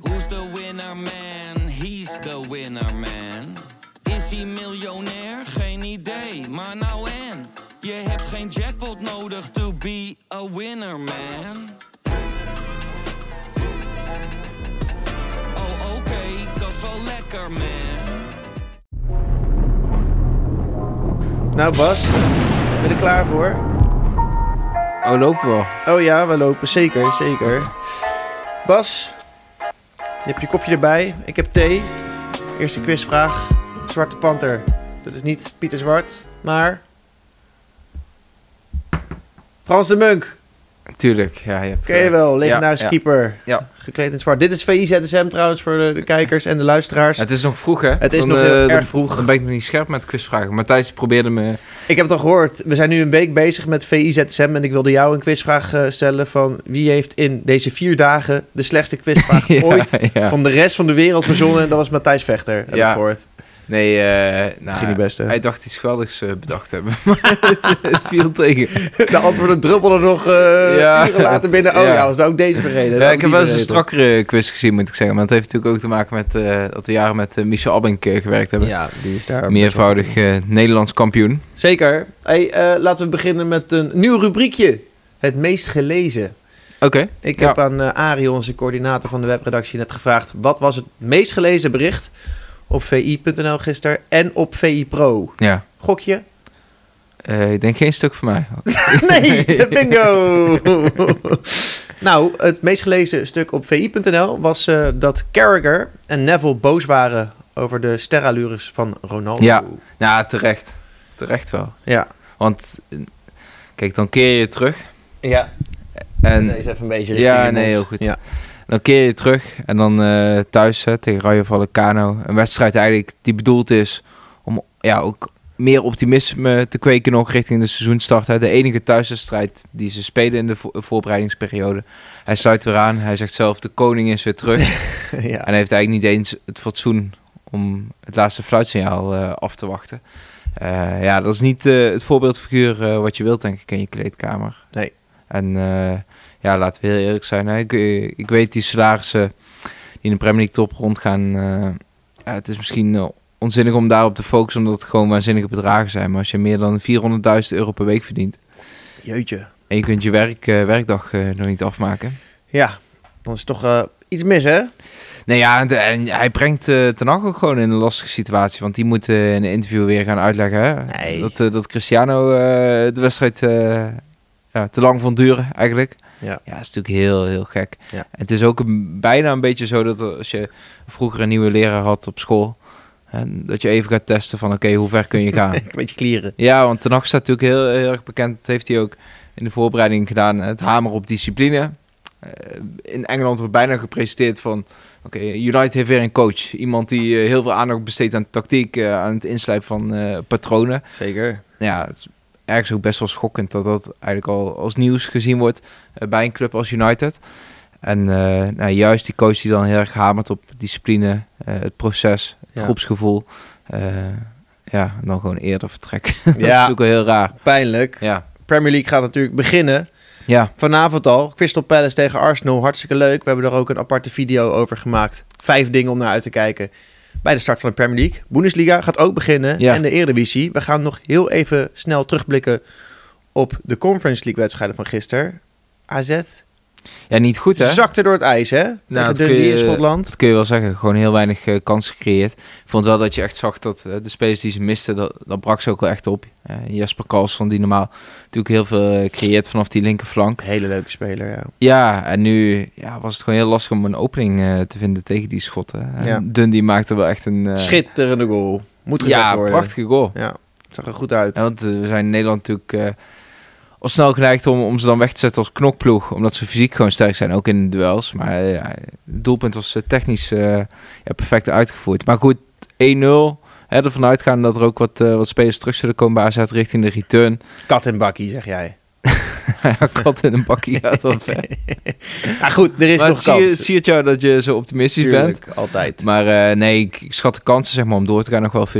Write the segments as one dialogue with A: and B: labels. A: Who's the winner man? He's the winner man. Is hij miljonair? Geen idee, maar nou en. Je hebt geen jackpot nodig to be a winner man. Oh oké, dat is wel lekker man.
B: Nou Bas, ben je er klaar voor?
C: Oh, lopen we al.
B: Oh ja, we lopen. Zeker, zeker. Bas, je hebt je kopje erbij. Ik heb thee. Eerste quizvraag. Zwarte panter. Dat is niet Pieter Zwart, maar... Frans de Munk.
C: Tuurlijk, ja. Je hebt
B: Ken je
C: gelijk.
B: wel, nou
C: ja,
B: legendarisch
C: ja.
B: keeper.
C: Ja.
B: Gekleed in zwart. Dit is VIZSM trouwens voor de, de kijkers en de luisteraars.
C: Het is nog vroeg, hè?
B: Het is
C: Dan,
B: nog
C: eh,
B: heel
C: dan-
B: erg vroeg.
C: Dan ben ik nog niet scherp met quizvragen. Matthijs probeerde me...
B: Ik heb het al gehoord. We zijn nu een week bezig met VIZSM en ik wilde jou een quizvraag eh, stellen van... Wie heeft in deze vier dagen de slechtste quizvraag
C: Ja,
B: ooit
C: ja.
B: van de rest van de wereld verzonnen. En dat was Matthijs Vechter, heb
C: Ja.
B: ik gehoord.
C: Nee, eh nou,
B: Ging niet best, hè?
C: hij dacht iets geweldigs eh, bedacht te hebben. Maar het, het viel tegen.
B: De antwoorden druppelden nog eh
C: Ja.
B: uren later binnen. Oh ja,
C: Ja.
B: was dat ook deze vergeten?
C: Ja,
B: Dat
C: ik heb
B: die
C: wel eens een
B: vergeten.
C: strakkere quiz gezien, moet ik zeggen. Maar dat heeft natuurlijk ook te maken met eh, dat we jaren met eh, Michel Abink eh, gewerkt hebben.
B: Ja, die is daar.
C: Meervoudig eh, Nederlands kampioen.
B: Zeker. Hey, eh, laten we beginnen met een nieuw rubriekje. Het meest gelezen.
C: Oké.
B: Ik
C: Ja.
B: heb aan eh Arie, onze coördinator van de webredactie, net gevraagd... wat was het meest gelezen bericht op vi.nl gisteren en op VI Pro?
C: Ja.
B: Gokje?
C: Eh, ik denk geen stuk voor mij.
B: Nee, bingo! nou, het meest gelezen stuk op vi.nl was eh, dat Carragher en Neville boos waren over de sterralures van Ronaldo.
C: Ja. Nou, terecht. Terecht wel.
B: Ja.
C: Want, eh, kijk, dan keer je terug.
B: ja.
C: En
B: deze even een beetje
C: Ja,
B: richting de mond.
C: nee, heel goed.
B: Ja.
C: dan keer je terug. En dan eh, thuis hè, tegen Rayo Vallecano. Een wedstrijd eigenlijk die bedoeld is om ja, ook meer optimisme te kweken nog richting de seizoenstart. Hè. De enige thuiswedstrijd die ze spelen in de vo- voorbereidingsperiode. Hij sluit weer aan. Hij zegt zelf, de koning is weer terug.
B: ja.
C: En hij heeft eigenlijk niet eens het fatsoen om het laatste fluitsignaal eh, af te wachten. Eh, ja, dat is niet eh, het voorbeeldfiguur eh, wat je wilt, denk ik, in je kleedkamer.
B: Nee.
C: En eh, ja, laten we heel eerlijk zijn. Hè? Ik, eh, ik weet die salarissen die in de Premier League top rondgaan. eh, ja, het is misschien eh, onzinnig om daarop te focussen, omdat het gewoon waanzinnige bedragen zijn. Maar als je meer dan 400.000 euro per week verdient
B: Jeetje.
C: en je kunt je werk, eh, werkdag eh, nog niet afmaken,
B: Ja, dan is toch eh, iets mis, hè?
C: Nee, ja, de- en hij brengt eh Ten Hag ook gewoon in een lastige situatie. Want die moet eh, in een interview weer gaan uitleggen hè?
B: Nee.
C: Dat, eh, dat Cristiano eh, de wedstrijd eh, ja, te lang vond duren eigenlijk.
B: Ja.
C: ja, dat is natuurlijk heel, heel gek.
B: Ja.
C: En het is ook een, bijna een beetje zo dat als je vroeger een nieuwe leraar had op school... En dat je even gaat testen van oké, hoe ver kun je gaan?
B: Een beetje klieren.
C: ja, want Ten Hag staat natuurlijk heel, heel erg bekend. Dat heeft hij ook in de voorbereiding gedaan. Het hamer op discipline. Eh, in Engeland wordt bijna gepresenteerd van... Oké, United heeft weer een coach. Iemand die eh, heel veel aandacht besteedt aan tactiek, eh, aan het inslijpen van eh, patronen.
B: Zeker.
C: Nou Ja, het is ergens ook best wel schokkend dat dat eigenlijk al als nieuws gezien wordt eh, bij een club als United. En eh, nou, juist die coach die dan heel erg hamert op discipline, eh, het proces, het
B: Ja.
C: groepsgevoel. eh, ja, en dan gewoon eerder vertrekken. dat is
B: Ja,
C: natuurlijk wel heel raar.
B: pijnlijk.
C: Ja,
B: Premier League gaat natuurlijk beginnen.
C: ja.
B: Vanavond al, Crystal Palace tegen Arsenal. Hartstikke leuk. We hebben er ook een aparte video over gemaakt. Vijf dingen om naar uit te kijken bij de start van de Premier League. Bundesliga gaat ook beginnen
C: Ja.
B: en de Eredivisie. We gaan nog heel even snel terugblikken op de Conference League wedstrijden van gisteren. AZ
C: ja niet goed hè? Nou,
B: zakte door het ijs, hè? Tegen
C: dat kun
B: Dundee
C: je-
B: in Schotland.
C: Dat kun je wel zeggen. Gewoon heel weinig eh, kansen gecreëerd. Ik vond wel dat je echt zag dat eh, de spelers die ze misten, dat, dat brak ze ook wel echt op. Eh, Jasper Karlsson, die normaal natuurlijk heel veel eh, creëert vanaf die linkerflank.
B: Hele leuke speler, ja.
C: Ja, en nu ja, was het gewoon heel lastig om een opening eh, te vinden tegen die schotten. En
B: Ja.
C: Dundee maakte wel echt een... eh,
B: Schitterende goal. Moet gezegd
C: Ja,
B: worden.
C: prachtige goal.
B: Ja, het zag er goed uit.
C: Ja, want eh, we zijn in Nederland natuurlijk eh, al snel geneigd om, om ze dan weg te zetten als knokploeg. Omdat ze fysiek gewoon sterk zijn, ook in de duels. Maar eh, ja, het doelpunt was eh, technisch eh, ja, perfect uitgevoerd. Maar goed, 1-0. Hè, ervan uitgaan dat er ook wat, eh, wat spelers terug zullen komen bij AZ richting de return.
B: Kat en bakkie, zeg jij.
C: Kat in een bakkie gaat wel ver.
B: Maar Ah, goed, er is
C: eh. Maar het
B: nog
C: zie, je-
B: kans.
C: zie het jou dat je zo optimistisch bent.
B: Tuurlijk, altijd.
C: Maar eh, nee, ik, ik schat de kansen zeg maar, om door te gaan nog wel 50-50.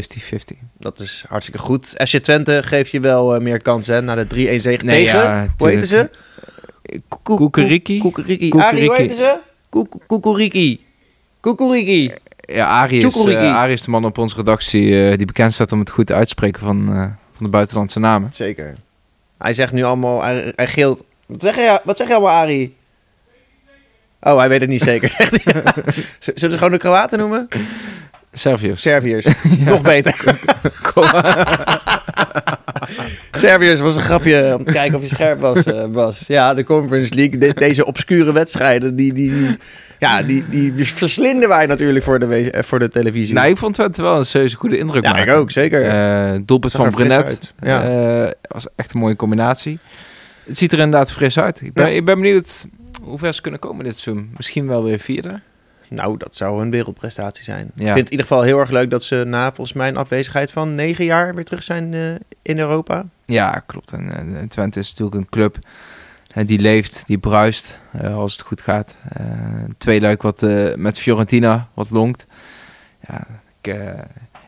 B: Dat is hartstikke goed. FC Twente geeft je wel eh, meer kansen hè, na de 3-1 zege
C: Nee,
B: tegen.
C: ja, Eh,
B: hoe heette ze?
C: Koekeriki?
B: Koekeriki.
C: Koekeriki.
B: Arie, hoe heette ze? Koek- Koekoeriki. Koekoeriki.
C: Ja, Arie is,
B: Tjoekoriki.
C: eh, Arie is de man op onze redactie eh, die bekend staat om het goed uitspreken van, eh, van de buitenlandse namen.
B: Zeker. Hij zegt nu allemaal, hij, hij gilt. Wat zeg, je, wat zeg je allemaal, Arie? Oh, hij weet het niet zeker. zegt hij. Z- Zullen we gewoon de Kroaten noemen?
C: Serviërs.
B: Serviërs. Nog beter. Serviërs was een grapje. Om te kijken of je scherp was, eh, Bas. Ja, de Conference League. de- deze obscure wedstrijden, die, die, die- ja, die, die verslinden wij natuurlijk voor de, we- eh, voor de televisie.
C: Nou, ik vond Twente wel een serieuze goede indruk
B: ja, ik
C: maken.
B: ook, zeker.
C: Eh, doelpunt
B: Zag
C: van
B: er fris
C: Brenet.
B: uit, ja.
C: Eh, was echt een mooie combinatie. Het ziet er inderdaad fris uit. Ik ben,
B: Ja.
C: ik ben benieuwd hoe ver ze kunnen komen dit seizoen. Misschien wel weer vierde.
B: Nou, dat zou een wereldprestatie zijn. Ik
C: Ja.
B: vind het in ieder geval heel erg leuk dat ze na volgens mij een afwezigheid van negen jaar weer terug zijn eh, in Europa.
C: Ja, klopt. En eh, Twente is natuurlijk een club eh, die leeft, die bruist eh, als het goed gaat. Eh twee luik wat eh, met Fiorentina wat lonkt. Ja, ik, eh,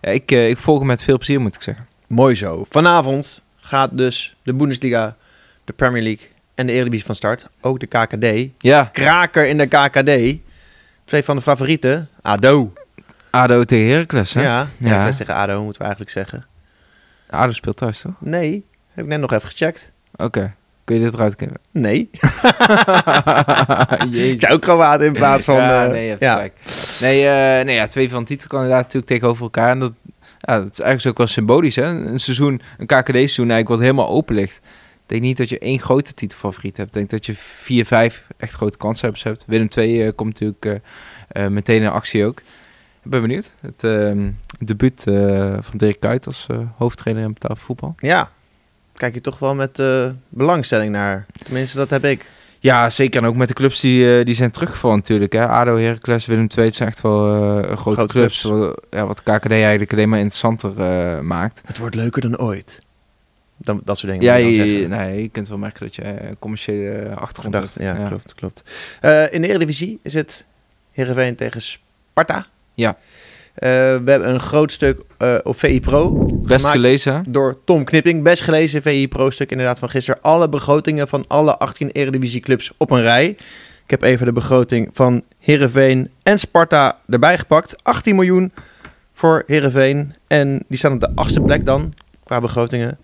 C: ja, ik, eh, ik volg hem met veel plezier, moet ik zeggen.
B: Mooi zo. Vanavond gaat dus de Bundesliga, de Premier League en de Eredivisie van start. Ook de KKD.
C: Ja,
B: Kraker in de KKD. Twee van de favorieten. ADO.
C: ADO tegen Heracles. Hè?
B: Ja,
C: Ja.
B: ja. tegen ADO moeten we eigenlijk zeggen.
C: ADO speelt thuis, toch?
B: Nee, heb ik net nog even gecheckt.
C: Oké, kun je dit eruit knippen?
B: Nee.
C: Jezus.
B: Ik zou ook Kroaat in plaats van...
C: ja,
B: eh,
C: nee, je hebt
B: ja.
C: gelijk. Nee, eh, nee ja, twee van de titelkandidaten natuurlijk tegenover elkaar. En dat, ja, dat is eigenlijk ook wel symbolisch. Hè? Een seizoen, een KKD-seizoen eigenlijk wat helemaal open ligt. Ik denk niet dat je één grote titelfavoriet hebt. Ik denk dat je vier, vijf echt grote kanshebbers hebt. Willem II eh, komt natuurlijk eh, eh, meteen in actie ook. Ik ben benieuwd. Het ehm, debuut eh, van Dirk Kuyt als eh, hoofdtrainer in betaald voetbal.
B: Ja, kijk je toch wel met eh, belangstelling naar. Tenminste, dat heb ik.
C: Ja, zeker. En ook met de clubs die, eh, die zijn teruggevallen natuurlijk. Hè. ADO, Heracles, Willem II, het zijn echt wel eh, grote,
B: Grote
C: clubs.
B: clubs.
C: Wat, ja, wat KKD eigenlijk alleen maar interessanter eh, maakt.
B: Het wordt leuker dan ooit. Dan, dat soort dingen.
C: Ja,
B: moet je
C: je,
B: dan zeggen.
C: nee, je kunt wel merken dat je eh, commerciële achtergrond
B: Gedacht, ja,
C: hebt.
B: klopt, klopt. Eh, in de Eredivisie is het Heerenveen tegen Sparta.
C: Ja.
B: Eh, we hebben een groot stuk eh, op VI Pro.
C: Best
B: gemaakt
C: gelezen. hè?
B: Door Tom Knipping. Best gelezen VI Pro-stuk inderdaad van gisteren. Alle begrotingen van alle 18 Eredivisie-clubs op een rij. Ik heb even de begroting van Heerenveen en Sparta erbij gepakt. 18 miljoen voor Heerenveen. En die staan op de achtste plek dan, qua begrotingen.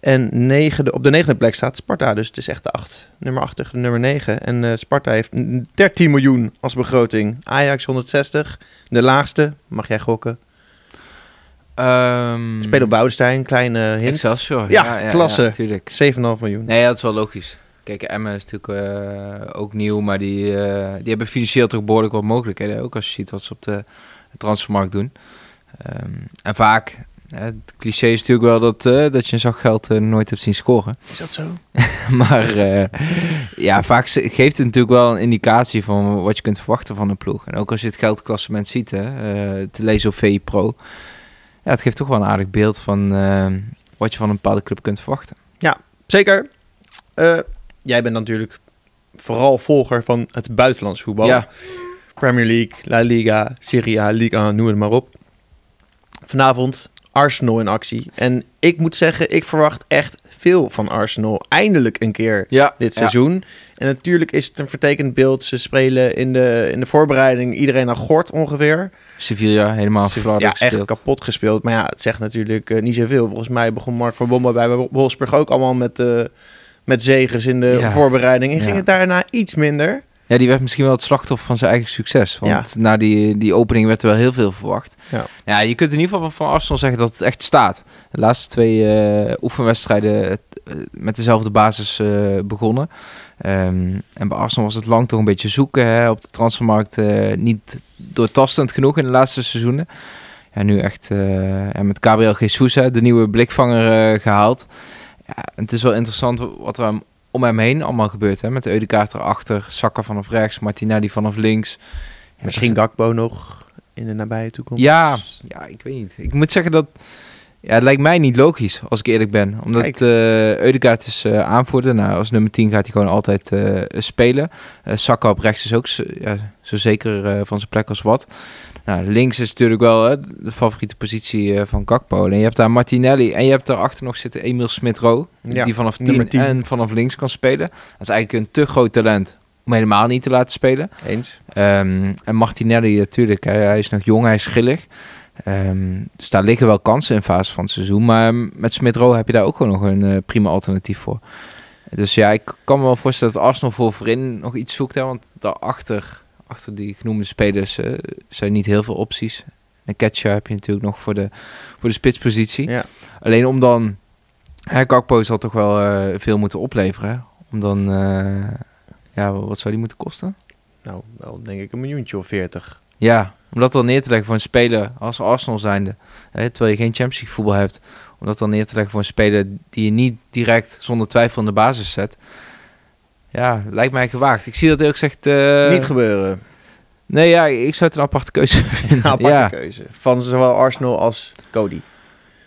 B: En negende, op de negende plek staat Sparta. Dus het is echt de acht. Nummer acht tegen de nummer negen. En eh, Sparta heeft n- 13 miljoen als begroting. Ajax 160, de laagste. Mag jij gokken.
C: Ehm,
B: Spelen op Woudenstein, kleine hint.
C: Excelsior.
B: Ja, klasse.
C: tuurlijk.
B: 7,5 miljoen.
C: Nee, dat is wel logisch. Kijk, Emmen is natuurlijk eh, ook nieuw, maar die, eh, die hebben financieel toch behoorlijk wat mogelijkheden. Ook als je ziet wat ze op de transfermarkt doen. Ehm, en vaak, hè, het cliché is natuurlijk wel dat, eh, dat je een zak geld eh, nooit hebt zien scoren.
B: Is dat zo?
C: maar eh, ja, vaak ze- geeft het natuurlijk wel een indicatie van wat je kunt verwachten van een ploeg. En ook als je het geldklassement ziet, hè, eh, te lezen op VI Pro. Ja, het geeft toch wel een aardig beeld van eh, wat je van een bepaalde club kunt verwachten.
B: Zeker. Eh, jij bent natuurlijk vooral volger van het buitenlands voetbal.
C: Ja.
B: Premier League, La Liga, Serie A, Ligue 1, noem het maar op. Vanavond Arsenal in actie. En ik moet zeggen, ik verwacht echt veel van Arsenal. Eindelijk een keer
C: Ja,
B: dit seizoen. En natuurlijk is het een vertekend beeld. Ze spelen in de, in de voorbereiding iedereen aan gort ongeveer.
C: Sevilla helemaal
B: Ze-
C: Vlaardijk
B: ja, echt
C: gespeeld.
B: kapot gespeeld. Maar ja, het zegt natuurlijk eh, niet zoveel. Volgens mij begon Mark van Bommel bij Wolfsburg ook allemaal met, eh met zegens in de
C: Ja.
B: voorbereiding. En
C: Ja.
B: ging het daarna iets minder.
C: Ja, die werd misschien wel het slachtoffer van zijn eigen succes. Want na die, die opening werd er wel heel veel verwacht.
B: Ja.
C: je kunt in ieder geval van Arsenal zeggen dat het echt staat. De laatste twee eh, oefenwedstrijden eh, met dezelfde basis eh, begonnen. Ehm, en bij Arsenal was het lang toch een beetje zoeken hè, op de transfermarkt. eh, niet doortastend genoeg in de laatste seizoenen. Ja, nu echt eh, en met Gabriel Jesus, hè, de nieuwe blikvanger, eh, gehaald. Ja, het is wel interessant wat er aan- om hem heen allemaal gebeurt. Hè? Met Eudekaart erachter, Saka vanaf rechts, Martinelli vanaf links. Ja,
B: Misschien
C: dat is-
B: Gakbo nog in de nabije toekomst.
C: Ja, ja, ik weet niet. Ik moet zeggen dat... Ja, het lijkt mij niet logisch, als ik eerlijk ben. Omdat
B: Kijk.
C: eh Eudegaard is eh, aanvoerder. Nou, als nummer 10 gaat hij gewoon altijd eh, spelen. Eh Saka op rechts is ook zo, ja, zo zeker eh, van zijn plek als wat. Nou, links is natuurlijk wel hè, de favoriete positie eh, van Gakpo. En je hebt daar Martinelli en je hebt daarachter nog zitten Emil Smit-Rowe.
B: Ja,
C: die vanaf
B: nummer
C: 10,
B: 10.
C: en vanaf links kan spelen. Dat is eigenlijk een te groot talent om helemaal niet te laten spelen.
B: Eens.
C: Ehm, en Martinelli natuurlijk, hè, hij is nog jong, hij is grillig. Ehm, dus daar liggen wel kansen in fase van het seizoen. Maar met Smith Rowe heb je daar ook gewoon nog een eh, prima alternatief voor. Dus ja, ik kan me wel voorstellen dat Arsenal voor voorin nog iets zoekt. Hè, want daarachter, achter die genoemde spelers, eh, zijn niet heel veel opties. Een catcher heb je natuurlijk nog voor de, voor de spitspositie.
B: Ja.
C: Alleen om dan... Hè, Gakpo zal toch wel eh, veel moeten opleveren. hè? Om dan... eh, ja, wat zou die moeten kosten?
B: Nou, wel denk ik een miljoentje of veertig.
C: Ja, om dat dan neer te leggen voor een speler als Arsenal zijnde, hè, terwijl je geen Champions League voetbal hebt, om dat dan neer te leggen voor een speler die je niet direct zonder twijfel in de basis zet. Ja, lijkt mij gewaagd. Ik zie dat eerlijk gezegd... eh,
B: Niet gebeuren. Nou,
C: nee, ja, ik zou het een aparte keuze vinden.
B: aparte
C: ja.
B: keuze. Van zowel Arsenal als Cody.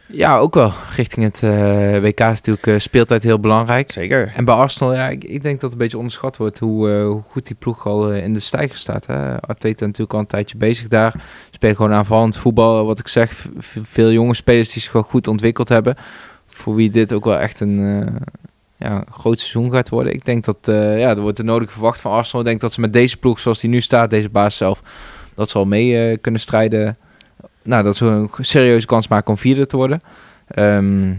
C: ja, ook wel. Richting het eh, WK is natuurlijk eh, speeltijd heel belangrijk.
B: Zeker.
C: En bij Arsenal, ja, ik, ik denk dat het een beetje onderschat wordt hoe, eh, hoe goed die ploeg al eh, in de stijger staat. Hè. Arteta natuurlijk al een tijdje bezig daar. Spelen gewoon aanvallend voetbal. Wat ik zeg, v- v- veel jonge spelers die zich wel goed ontwikkeld hebben. Voor wie dit ook wel echt een eh, ja, een groot seizoen gaat worden. Ik denk dat eh, ja, er wordt de nodige verwacht van Arsenal. Ik denk dat ze met deze ploeg zoals die nu staat, deze baas zelf, dat ze al mee eh, kunnen strijden. Nou, dat ze een serieuze kans maken om vierde te worden. Ehm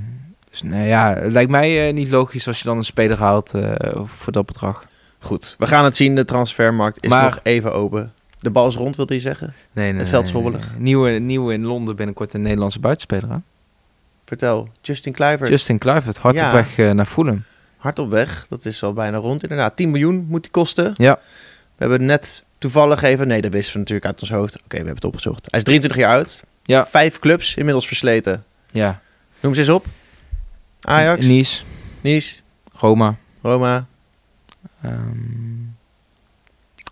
C: dus nou ja, het lijkt mij eh, niet logisch als je dan een speler haalt eh, voor dat bedrag.
B: Goed. We gaan het zien. De transfermarkt is
C: Maar-
B: nog even open. De bal is rond, wilde je zeggen?
C: Nee, nee,
B: Het veld is
C: nee, nee.
B: hobbelig.
C: Nieuwe, nieuwe in Londen binnenkort een Nederlandse buitenspeler. Hè?
B: Vertel. Justin Kluivert.
C: Justin Kluivert, hard
B: Ja.
C: op weg eh, naar Fulham.
B: Hard op weg. Dat is al bijna rond inderdaad. 10 miljoen moet die kosten.
C: Ja.
B: We hebben net toevallig even... Nee, dat wisten we natuurlijk uit ons hoofd. Oké, we hebben het opgezocht. Hij is 23 jaar oud.
C: Ja.
B: Vijf clubs inmiddels versleten.
C: Ja.
B: Noem ze eens op. Ajax,
C: Nice,
B: Nice,
C: Roma,
B: Roma,
C: ehm,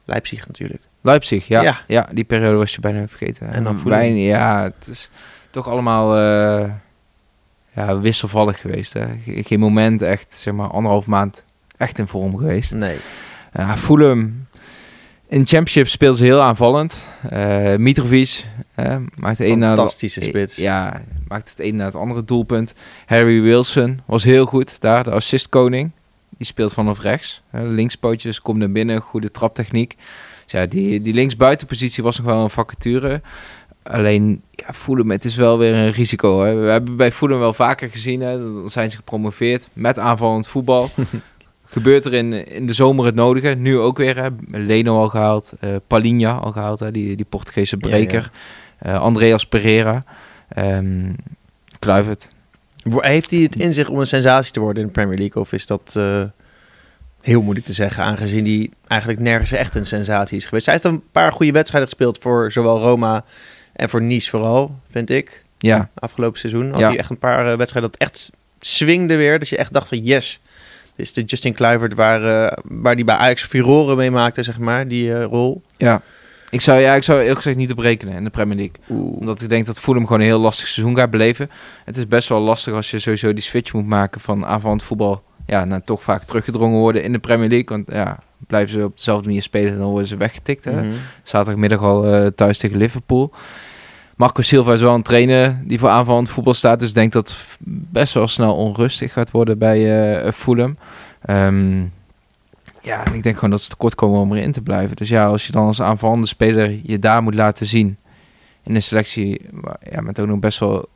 B: Leipzig natuurlijk.
C: Leipzig. Ja.
B: Ja.
C: ja. die periode was je bijna vergeten. Ehm,
B: En dan Fulham.
C: bijna, Ja, het is toch allemaal eh, ja, wisselvallig geweest. Hè? Ge- Geen moment echt, zeg maar, anderhalf maand echt in vorm geweest.
B: Nee.
C: Ja, Eh, Fulham. In Championship speelt ze heel aanvallend. Eh Mitrovic eh, maakt de een na de
B: Fantastische spits.
C: ja, maakt het een na het andere doelpunt. Harry Wilson was heel goed daar, de assistkoning. Die speelt vanaf rechts. Eh, Linkspootje, dus komt naar binnen, goede traptechniek. Dus ja, die, die linksbuitenpositie was nog wel een vacature. Alleen, ja, Fulham, het is wel weer een risico. Hè. We hebben bij Fulham wel vaker gezien, hè, dan zijn ze gepromoveerd met aanvallend voetbal. Gebeurt er in, in de zomer het nodige. Nu ook weer, hè. Leno al gehaald, eh Palinha al gehaald, hè, die, die Portugese
B: Ja, ja.
C: breker. Eh, Andreas Pereira. Ehm Kluivert.
B: Wo- Heeft hij het in zich om een sensatie te worden in de Premier League? Of is dat eh, heel moeilijk te zeggen, aangezien hij eigenlijk nergens echt een sensatie is geweest? Hij heeft een paar goede wedstrijden gespeeld voor zowel Roma en voor Nice vooral, vind ik.
C: Ja,
B: Afgelopen seizoen had
C: Ja.
B: hij echt een paar eh, wedstrijden dat echt swingde weer. Dat je echt dacht van yes, dit is de Justin Kluivert waar, eh, waar die bij Ajax furoren mee maakte, zeg maar, die eh, rol.
C: ja. Ik zou, ja, ik zou eerlijk gezegd niet op rekenen in de Premier League. Omdat ik denk dat Fulham gewoon een heel lastig seizoen gaat beleven. Het is best wel lastig als je sowieso die switch moet maken van aanvallend voetbal... Ja, naar toch vaak teruggedrongen worden in de Premier League. Want ja, blijven ze op dezelfde manier spelen, dan worden ze weggetikt. Hè?
B: Mhm.
C: Zaterdagmiddag al eh, thuis tegen Liverpool. Marco Silva is wel een trainer die voor aanvallend voetbal staat. Dus ik denk dat het best wel snel onrustig gaat worden bij eh Fulham. Ehm, ja, en ik denk gewoon dat ze tekort komen om erin te blijven. Dus ja, als je dan als aanvallende speler je daar moet laten zien... in een selectie waar- ja, met ook nog best wel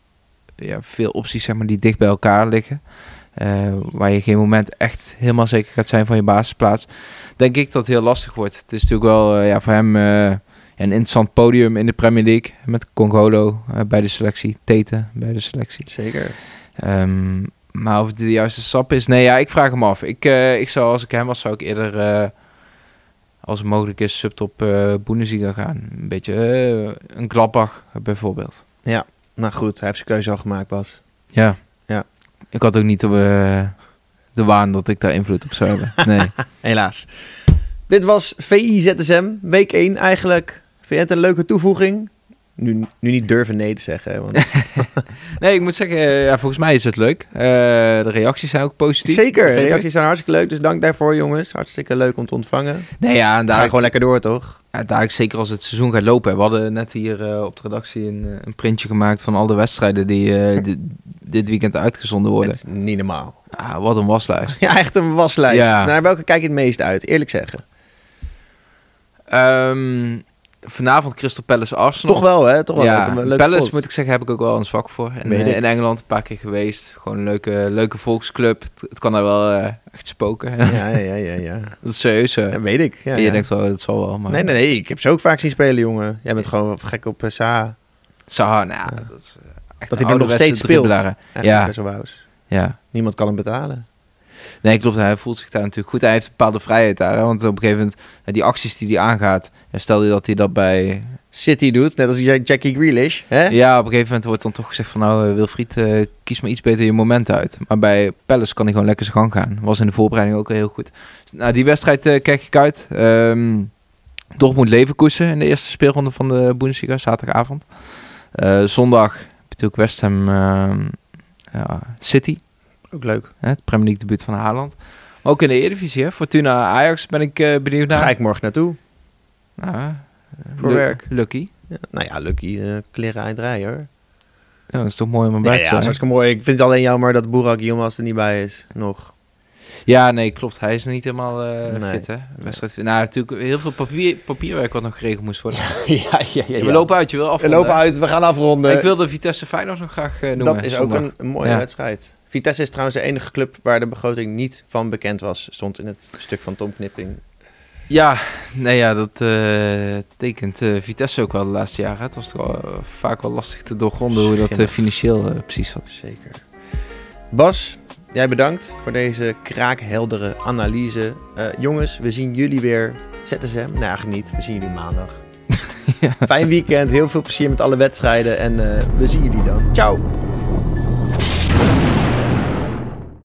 C: ja, veel opties zeg maar, die dicht bij elkaar liggen... eh, waar je geen moment echt helemaal zeker gaat zijn van je basisplaats denk ik dat het heel lastig wordt. Het is natuurlijk wel eh, ja, voor hem eh, een interessant podium in de Premier League. Met Congolo eh, bij de selectie, Tete bij de selectie.
B: Zeker.
C: Ehm, maar of het de juiste stap is, nee, ja, ik vraag hem af. Ik, eh, ik zou, als ik hem was, zou ik eerder, eh, als het mogelijk is, subtop eh Bundesliga gaan. Een beetje eh, een Gladbach bijvoorbeeld.
B: Maar goed, hij heeft zijn keuze al gemaakt, Bas.
C: Ja.
B: Ja.
C: Ik had ook niet eh, de waan dat ik daar invloed op zou hebben. Nee.
B: Helaas. Dit was VI ZSM, week 1 eigenlijk. Vind je het een leuke toevoeging? Nu, nu niet durven nee te zeggen. hè, Want
C: Nee, ik moet zeggen, eh, ja, volgens mij is het leuk. Eh, de reacties zijn ook positief.
B: zeker,
C: Begreep ik.
B: reacties zijn hartstikke leuk. Dus dank daarvoor jongens. Hartstikke leuk om te ontvangen.
C: Nee, ja, en
B: Ga
C: daar,
B: gewoon lekker door, toch?
C: ja, daar ik zeker als het seizoen gaat lopen. hè. We hadden net hier eh, op de redactie een, eh, een printje gemaakt van al de wedstrijden die eh, di- dit weekend uitgezonden
B: Dat
C: worden.
B: is niet normaal.
C: Ah, wat een waslijst.
B: Ja, echt een waslijst.
C: Ja.
B: Naar welke kijk je het meest uit? Eerlijk zeggen.
C: Ehm, vanavond Crystal Palace Arsenal.
B: Toch wel, hè? Toch wel
C: ja,
B: leuk. Een leuke
C: Palace
B: pot.
C: moet ik zeggen, heb ik ook wel een zwak voor. En,
B: Weet
C: eh,
B: ik.
C: in Engeland een paar keer geweest. Gewoon een leuke, leuke volksclub. Het, het kan daar wel eh, echt spoken.
B: Ja, ja, ja, ja.
C: dat is serieus. eh.
B: Dat weet ik. Ja,
C: je
B: ja.
C: denkt wel, dat zal wel. Maar
B: Nee, nee, nee. Ik heb ze ook vaak zien spelen, jongen. Jij bent gewoon gek op eh, Saha.
C: Zaha, nou, ja, dat is eh, echt
B: Dat
C: een
B: hij er nog
C: ouderwetse
B: steeds speelt.
C: dribbelaar, hè.
B: Echt
C: Ja.
B: best wel wauws.
C: Ja.
B: Niemand kan hem betalen.
C: Nee, klopt. Hij voelt zich daar natuurlijk goed. Hij heeft een bepaalde vrijheid daar. Hè? Want op een gegeven moment, eh, die acties die hij aangaat... eh, Stel je dat hij dat bij...
B: City doet, net als Jack- Jackie Grealish. Hè?
C: Ja, op een gegeven moment wordt dan toch gezegd van... Nou, eh, Wilfried, eh, kies maar iets beter je moment uit. Maar bij Palace kan hij gewoon lekker zijn gang gaan. Was in de voorbereiding ook heel goed. Nou, die wedstrijd eh, kijk ik uit. Ehm Dortmund-Leverkusen in de eerste speelronde van de Bundesliga. Zaterdagavond. Eh, zondag heb je natuurlijk West Ham ehm, ja, City.
B: Ook leuk.
C: Hè, het Premier League debuut van Haaland. Maar ook in de Eredivisie, hè? Fortuna Ajax ben ik eh, benieuwd naar.
B: Ga ik morgen naartoe.
C: Nou, eh,
B: Voor
C: lu-
B: werk.
C: Lucky.
B: Ja, nou ja, lucky. eh kleren eindrijden hoor.
C: Ja, dat is toch mooi om
B: Ja,
C: erbij
B: ja, dat
C: te
B: is
C: zijn. Ja,
B: hartstikke mooi. Ik vind het alleen jammer dat Boerak Yilmaz er niet bij is. Nog.
C: nee, klopt. Hij is niet helemaal eh,
B: Nee.
C: fit, hè? Wedstrijd. Nou, natuurlijk heel veel papier, papierwerk wat nog geregeld moest worden.
B: ja, ja, ja.
C: We lopen uit, je wil af.
B: We lopen uit. We gaan afronden.
C: Ik wilde Vitesse Feyenoord nog graag eh, noemen.
B: dat is ook
C: zondag.
B: een, een mooie
C: Ja.
B: wedstrijd. Vitesse is trouwens de enige club waar de begroting niet van bekend was. Stond in het stuk van Tom Knipping.
C: Ja, nee, ja, dat eh, tekent eh, Vitesse ook wel de laatste jaren. Het was toch wel, eh, vaak wel lastig te doorgronden hoe dat eh,
B: Schimmig.
C: financieel eh, precies zat.
B: Zeker. Bas, jij bedankt voor deze kraakheldere analyse. Eh, jongens, we zien jullie weer. Zetten ze hem? Nou, eigenlijk niet. We zien jullie maandag. Fijn weekend. Heel veel plezier met alle wedstrijden. En eh, we zien jullie dan. Ciao.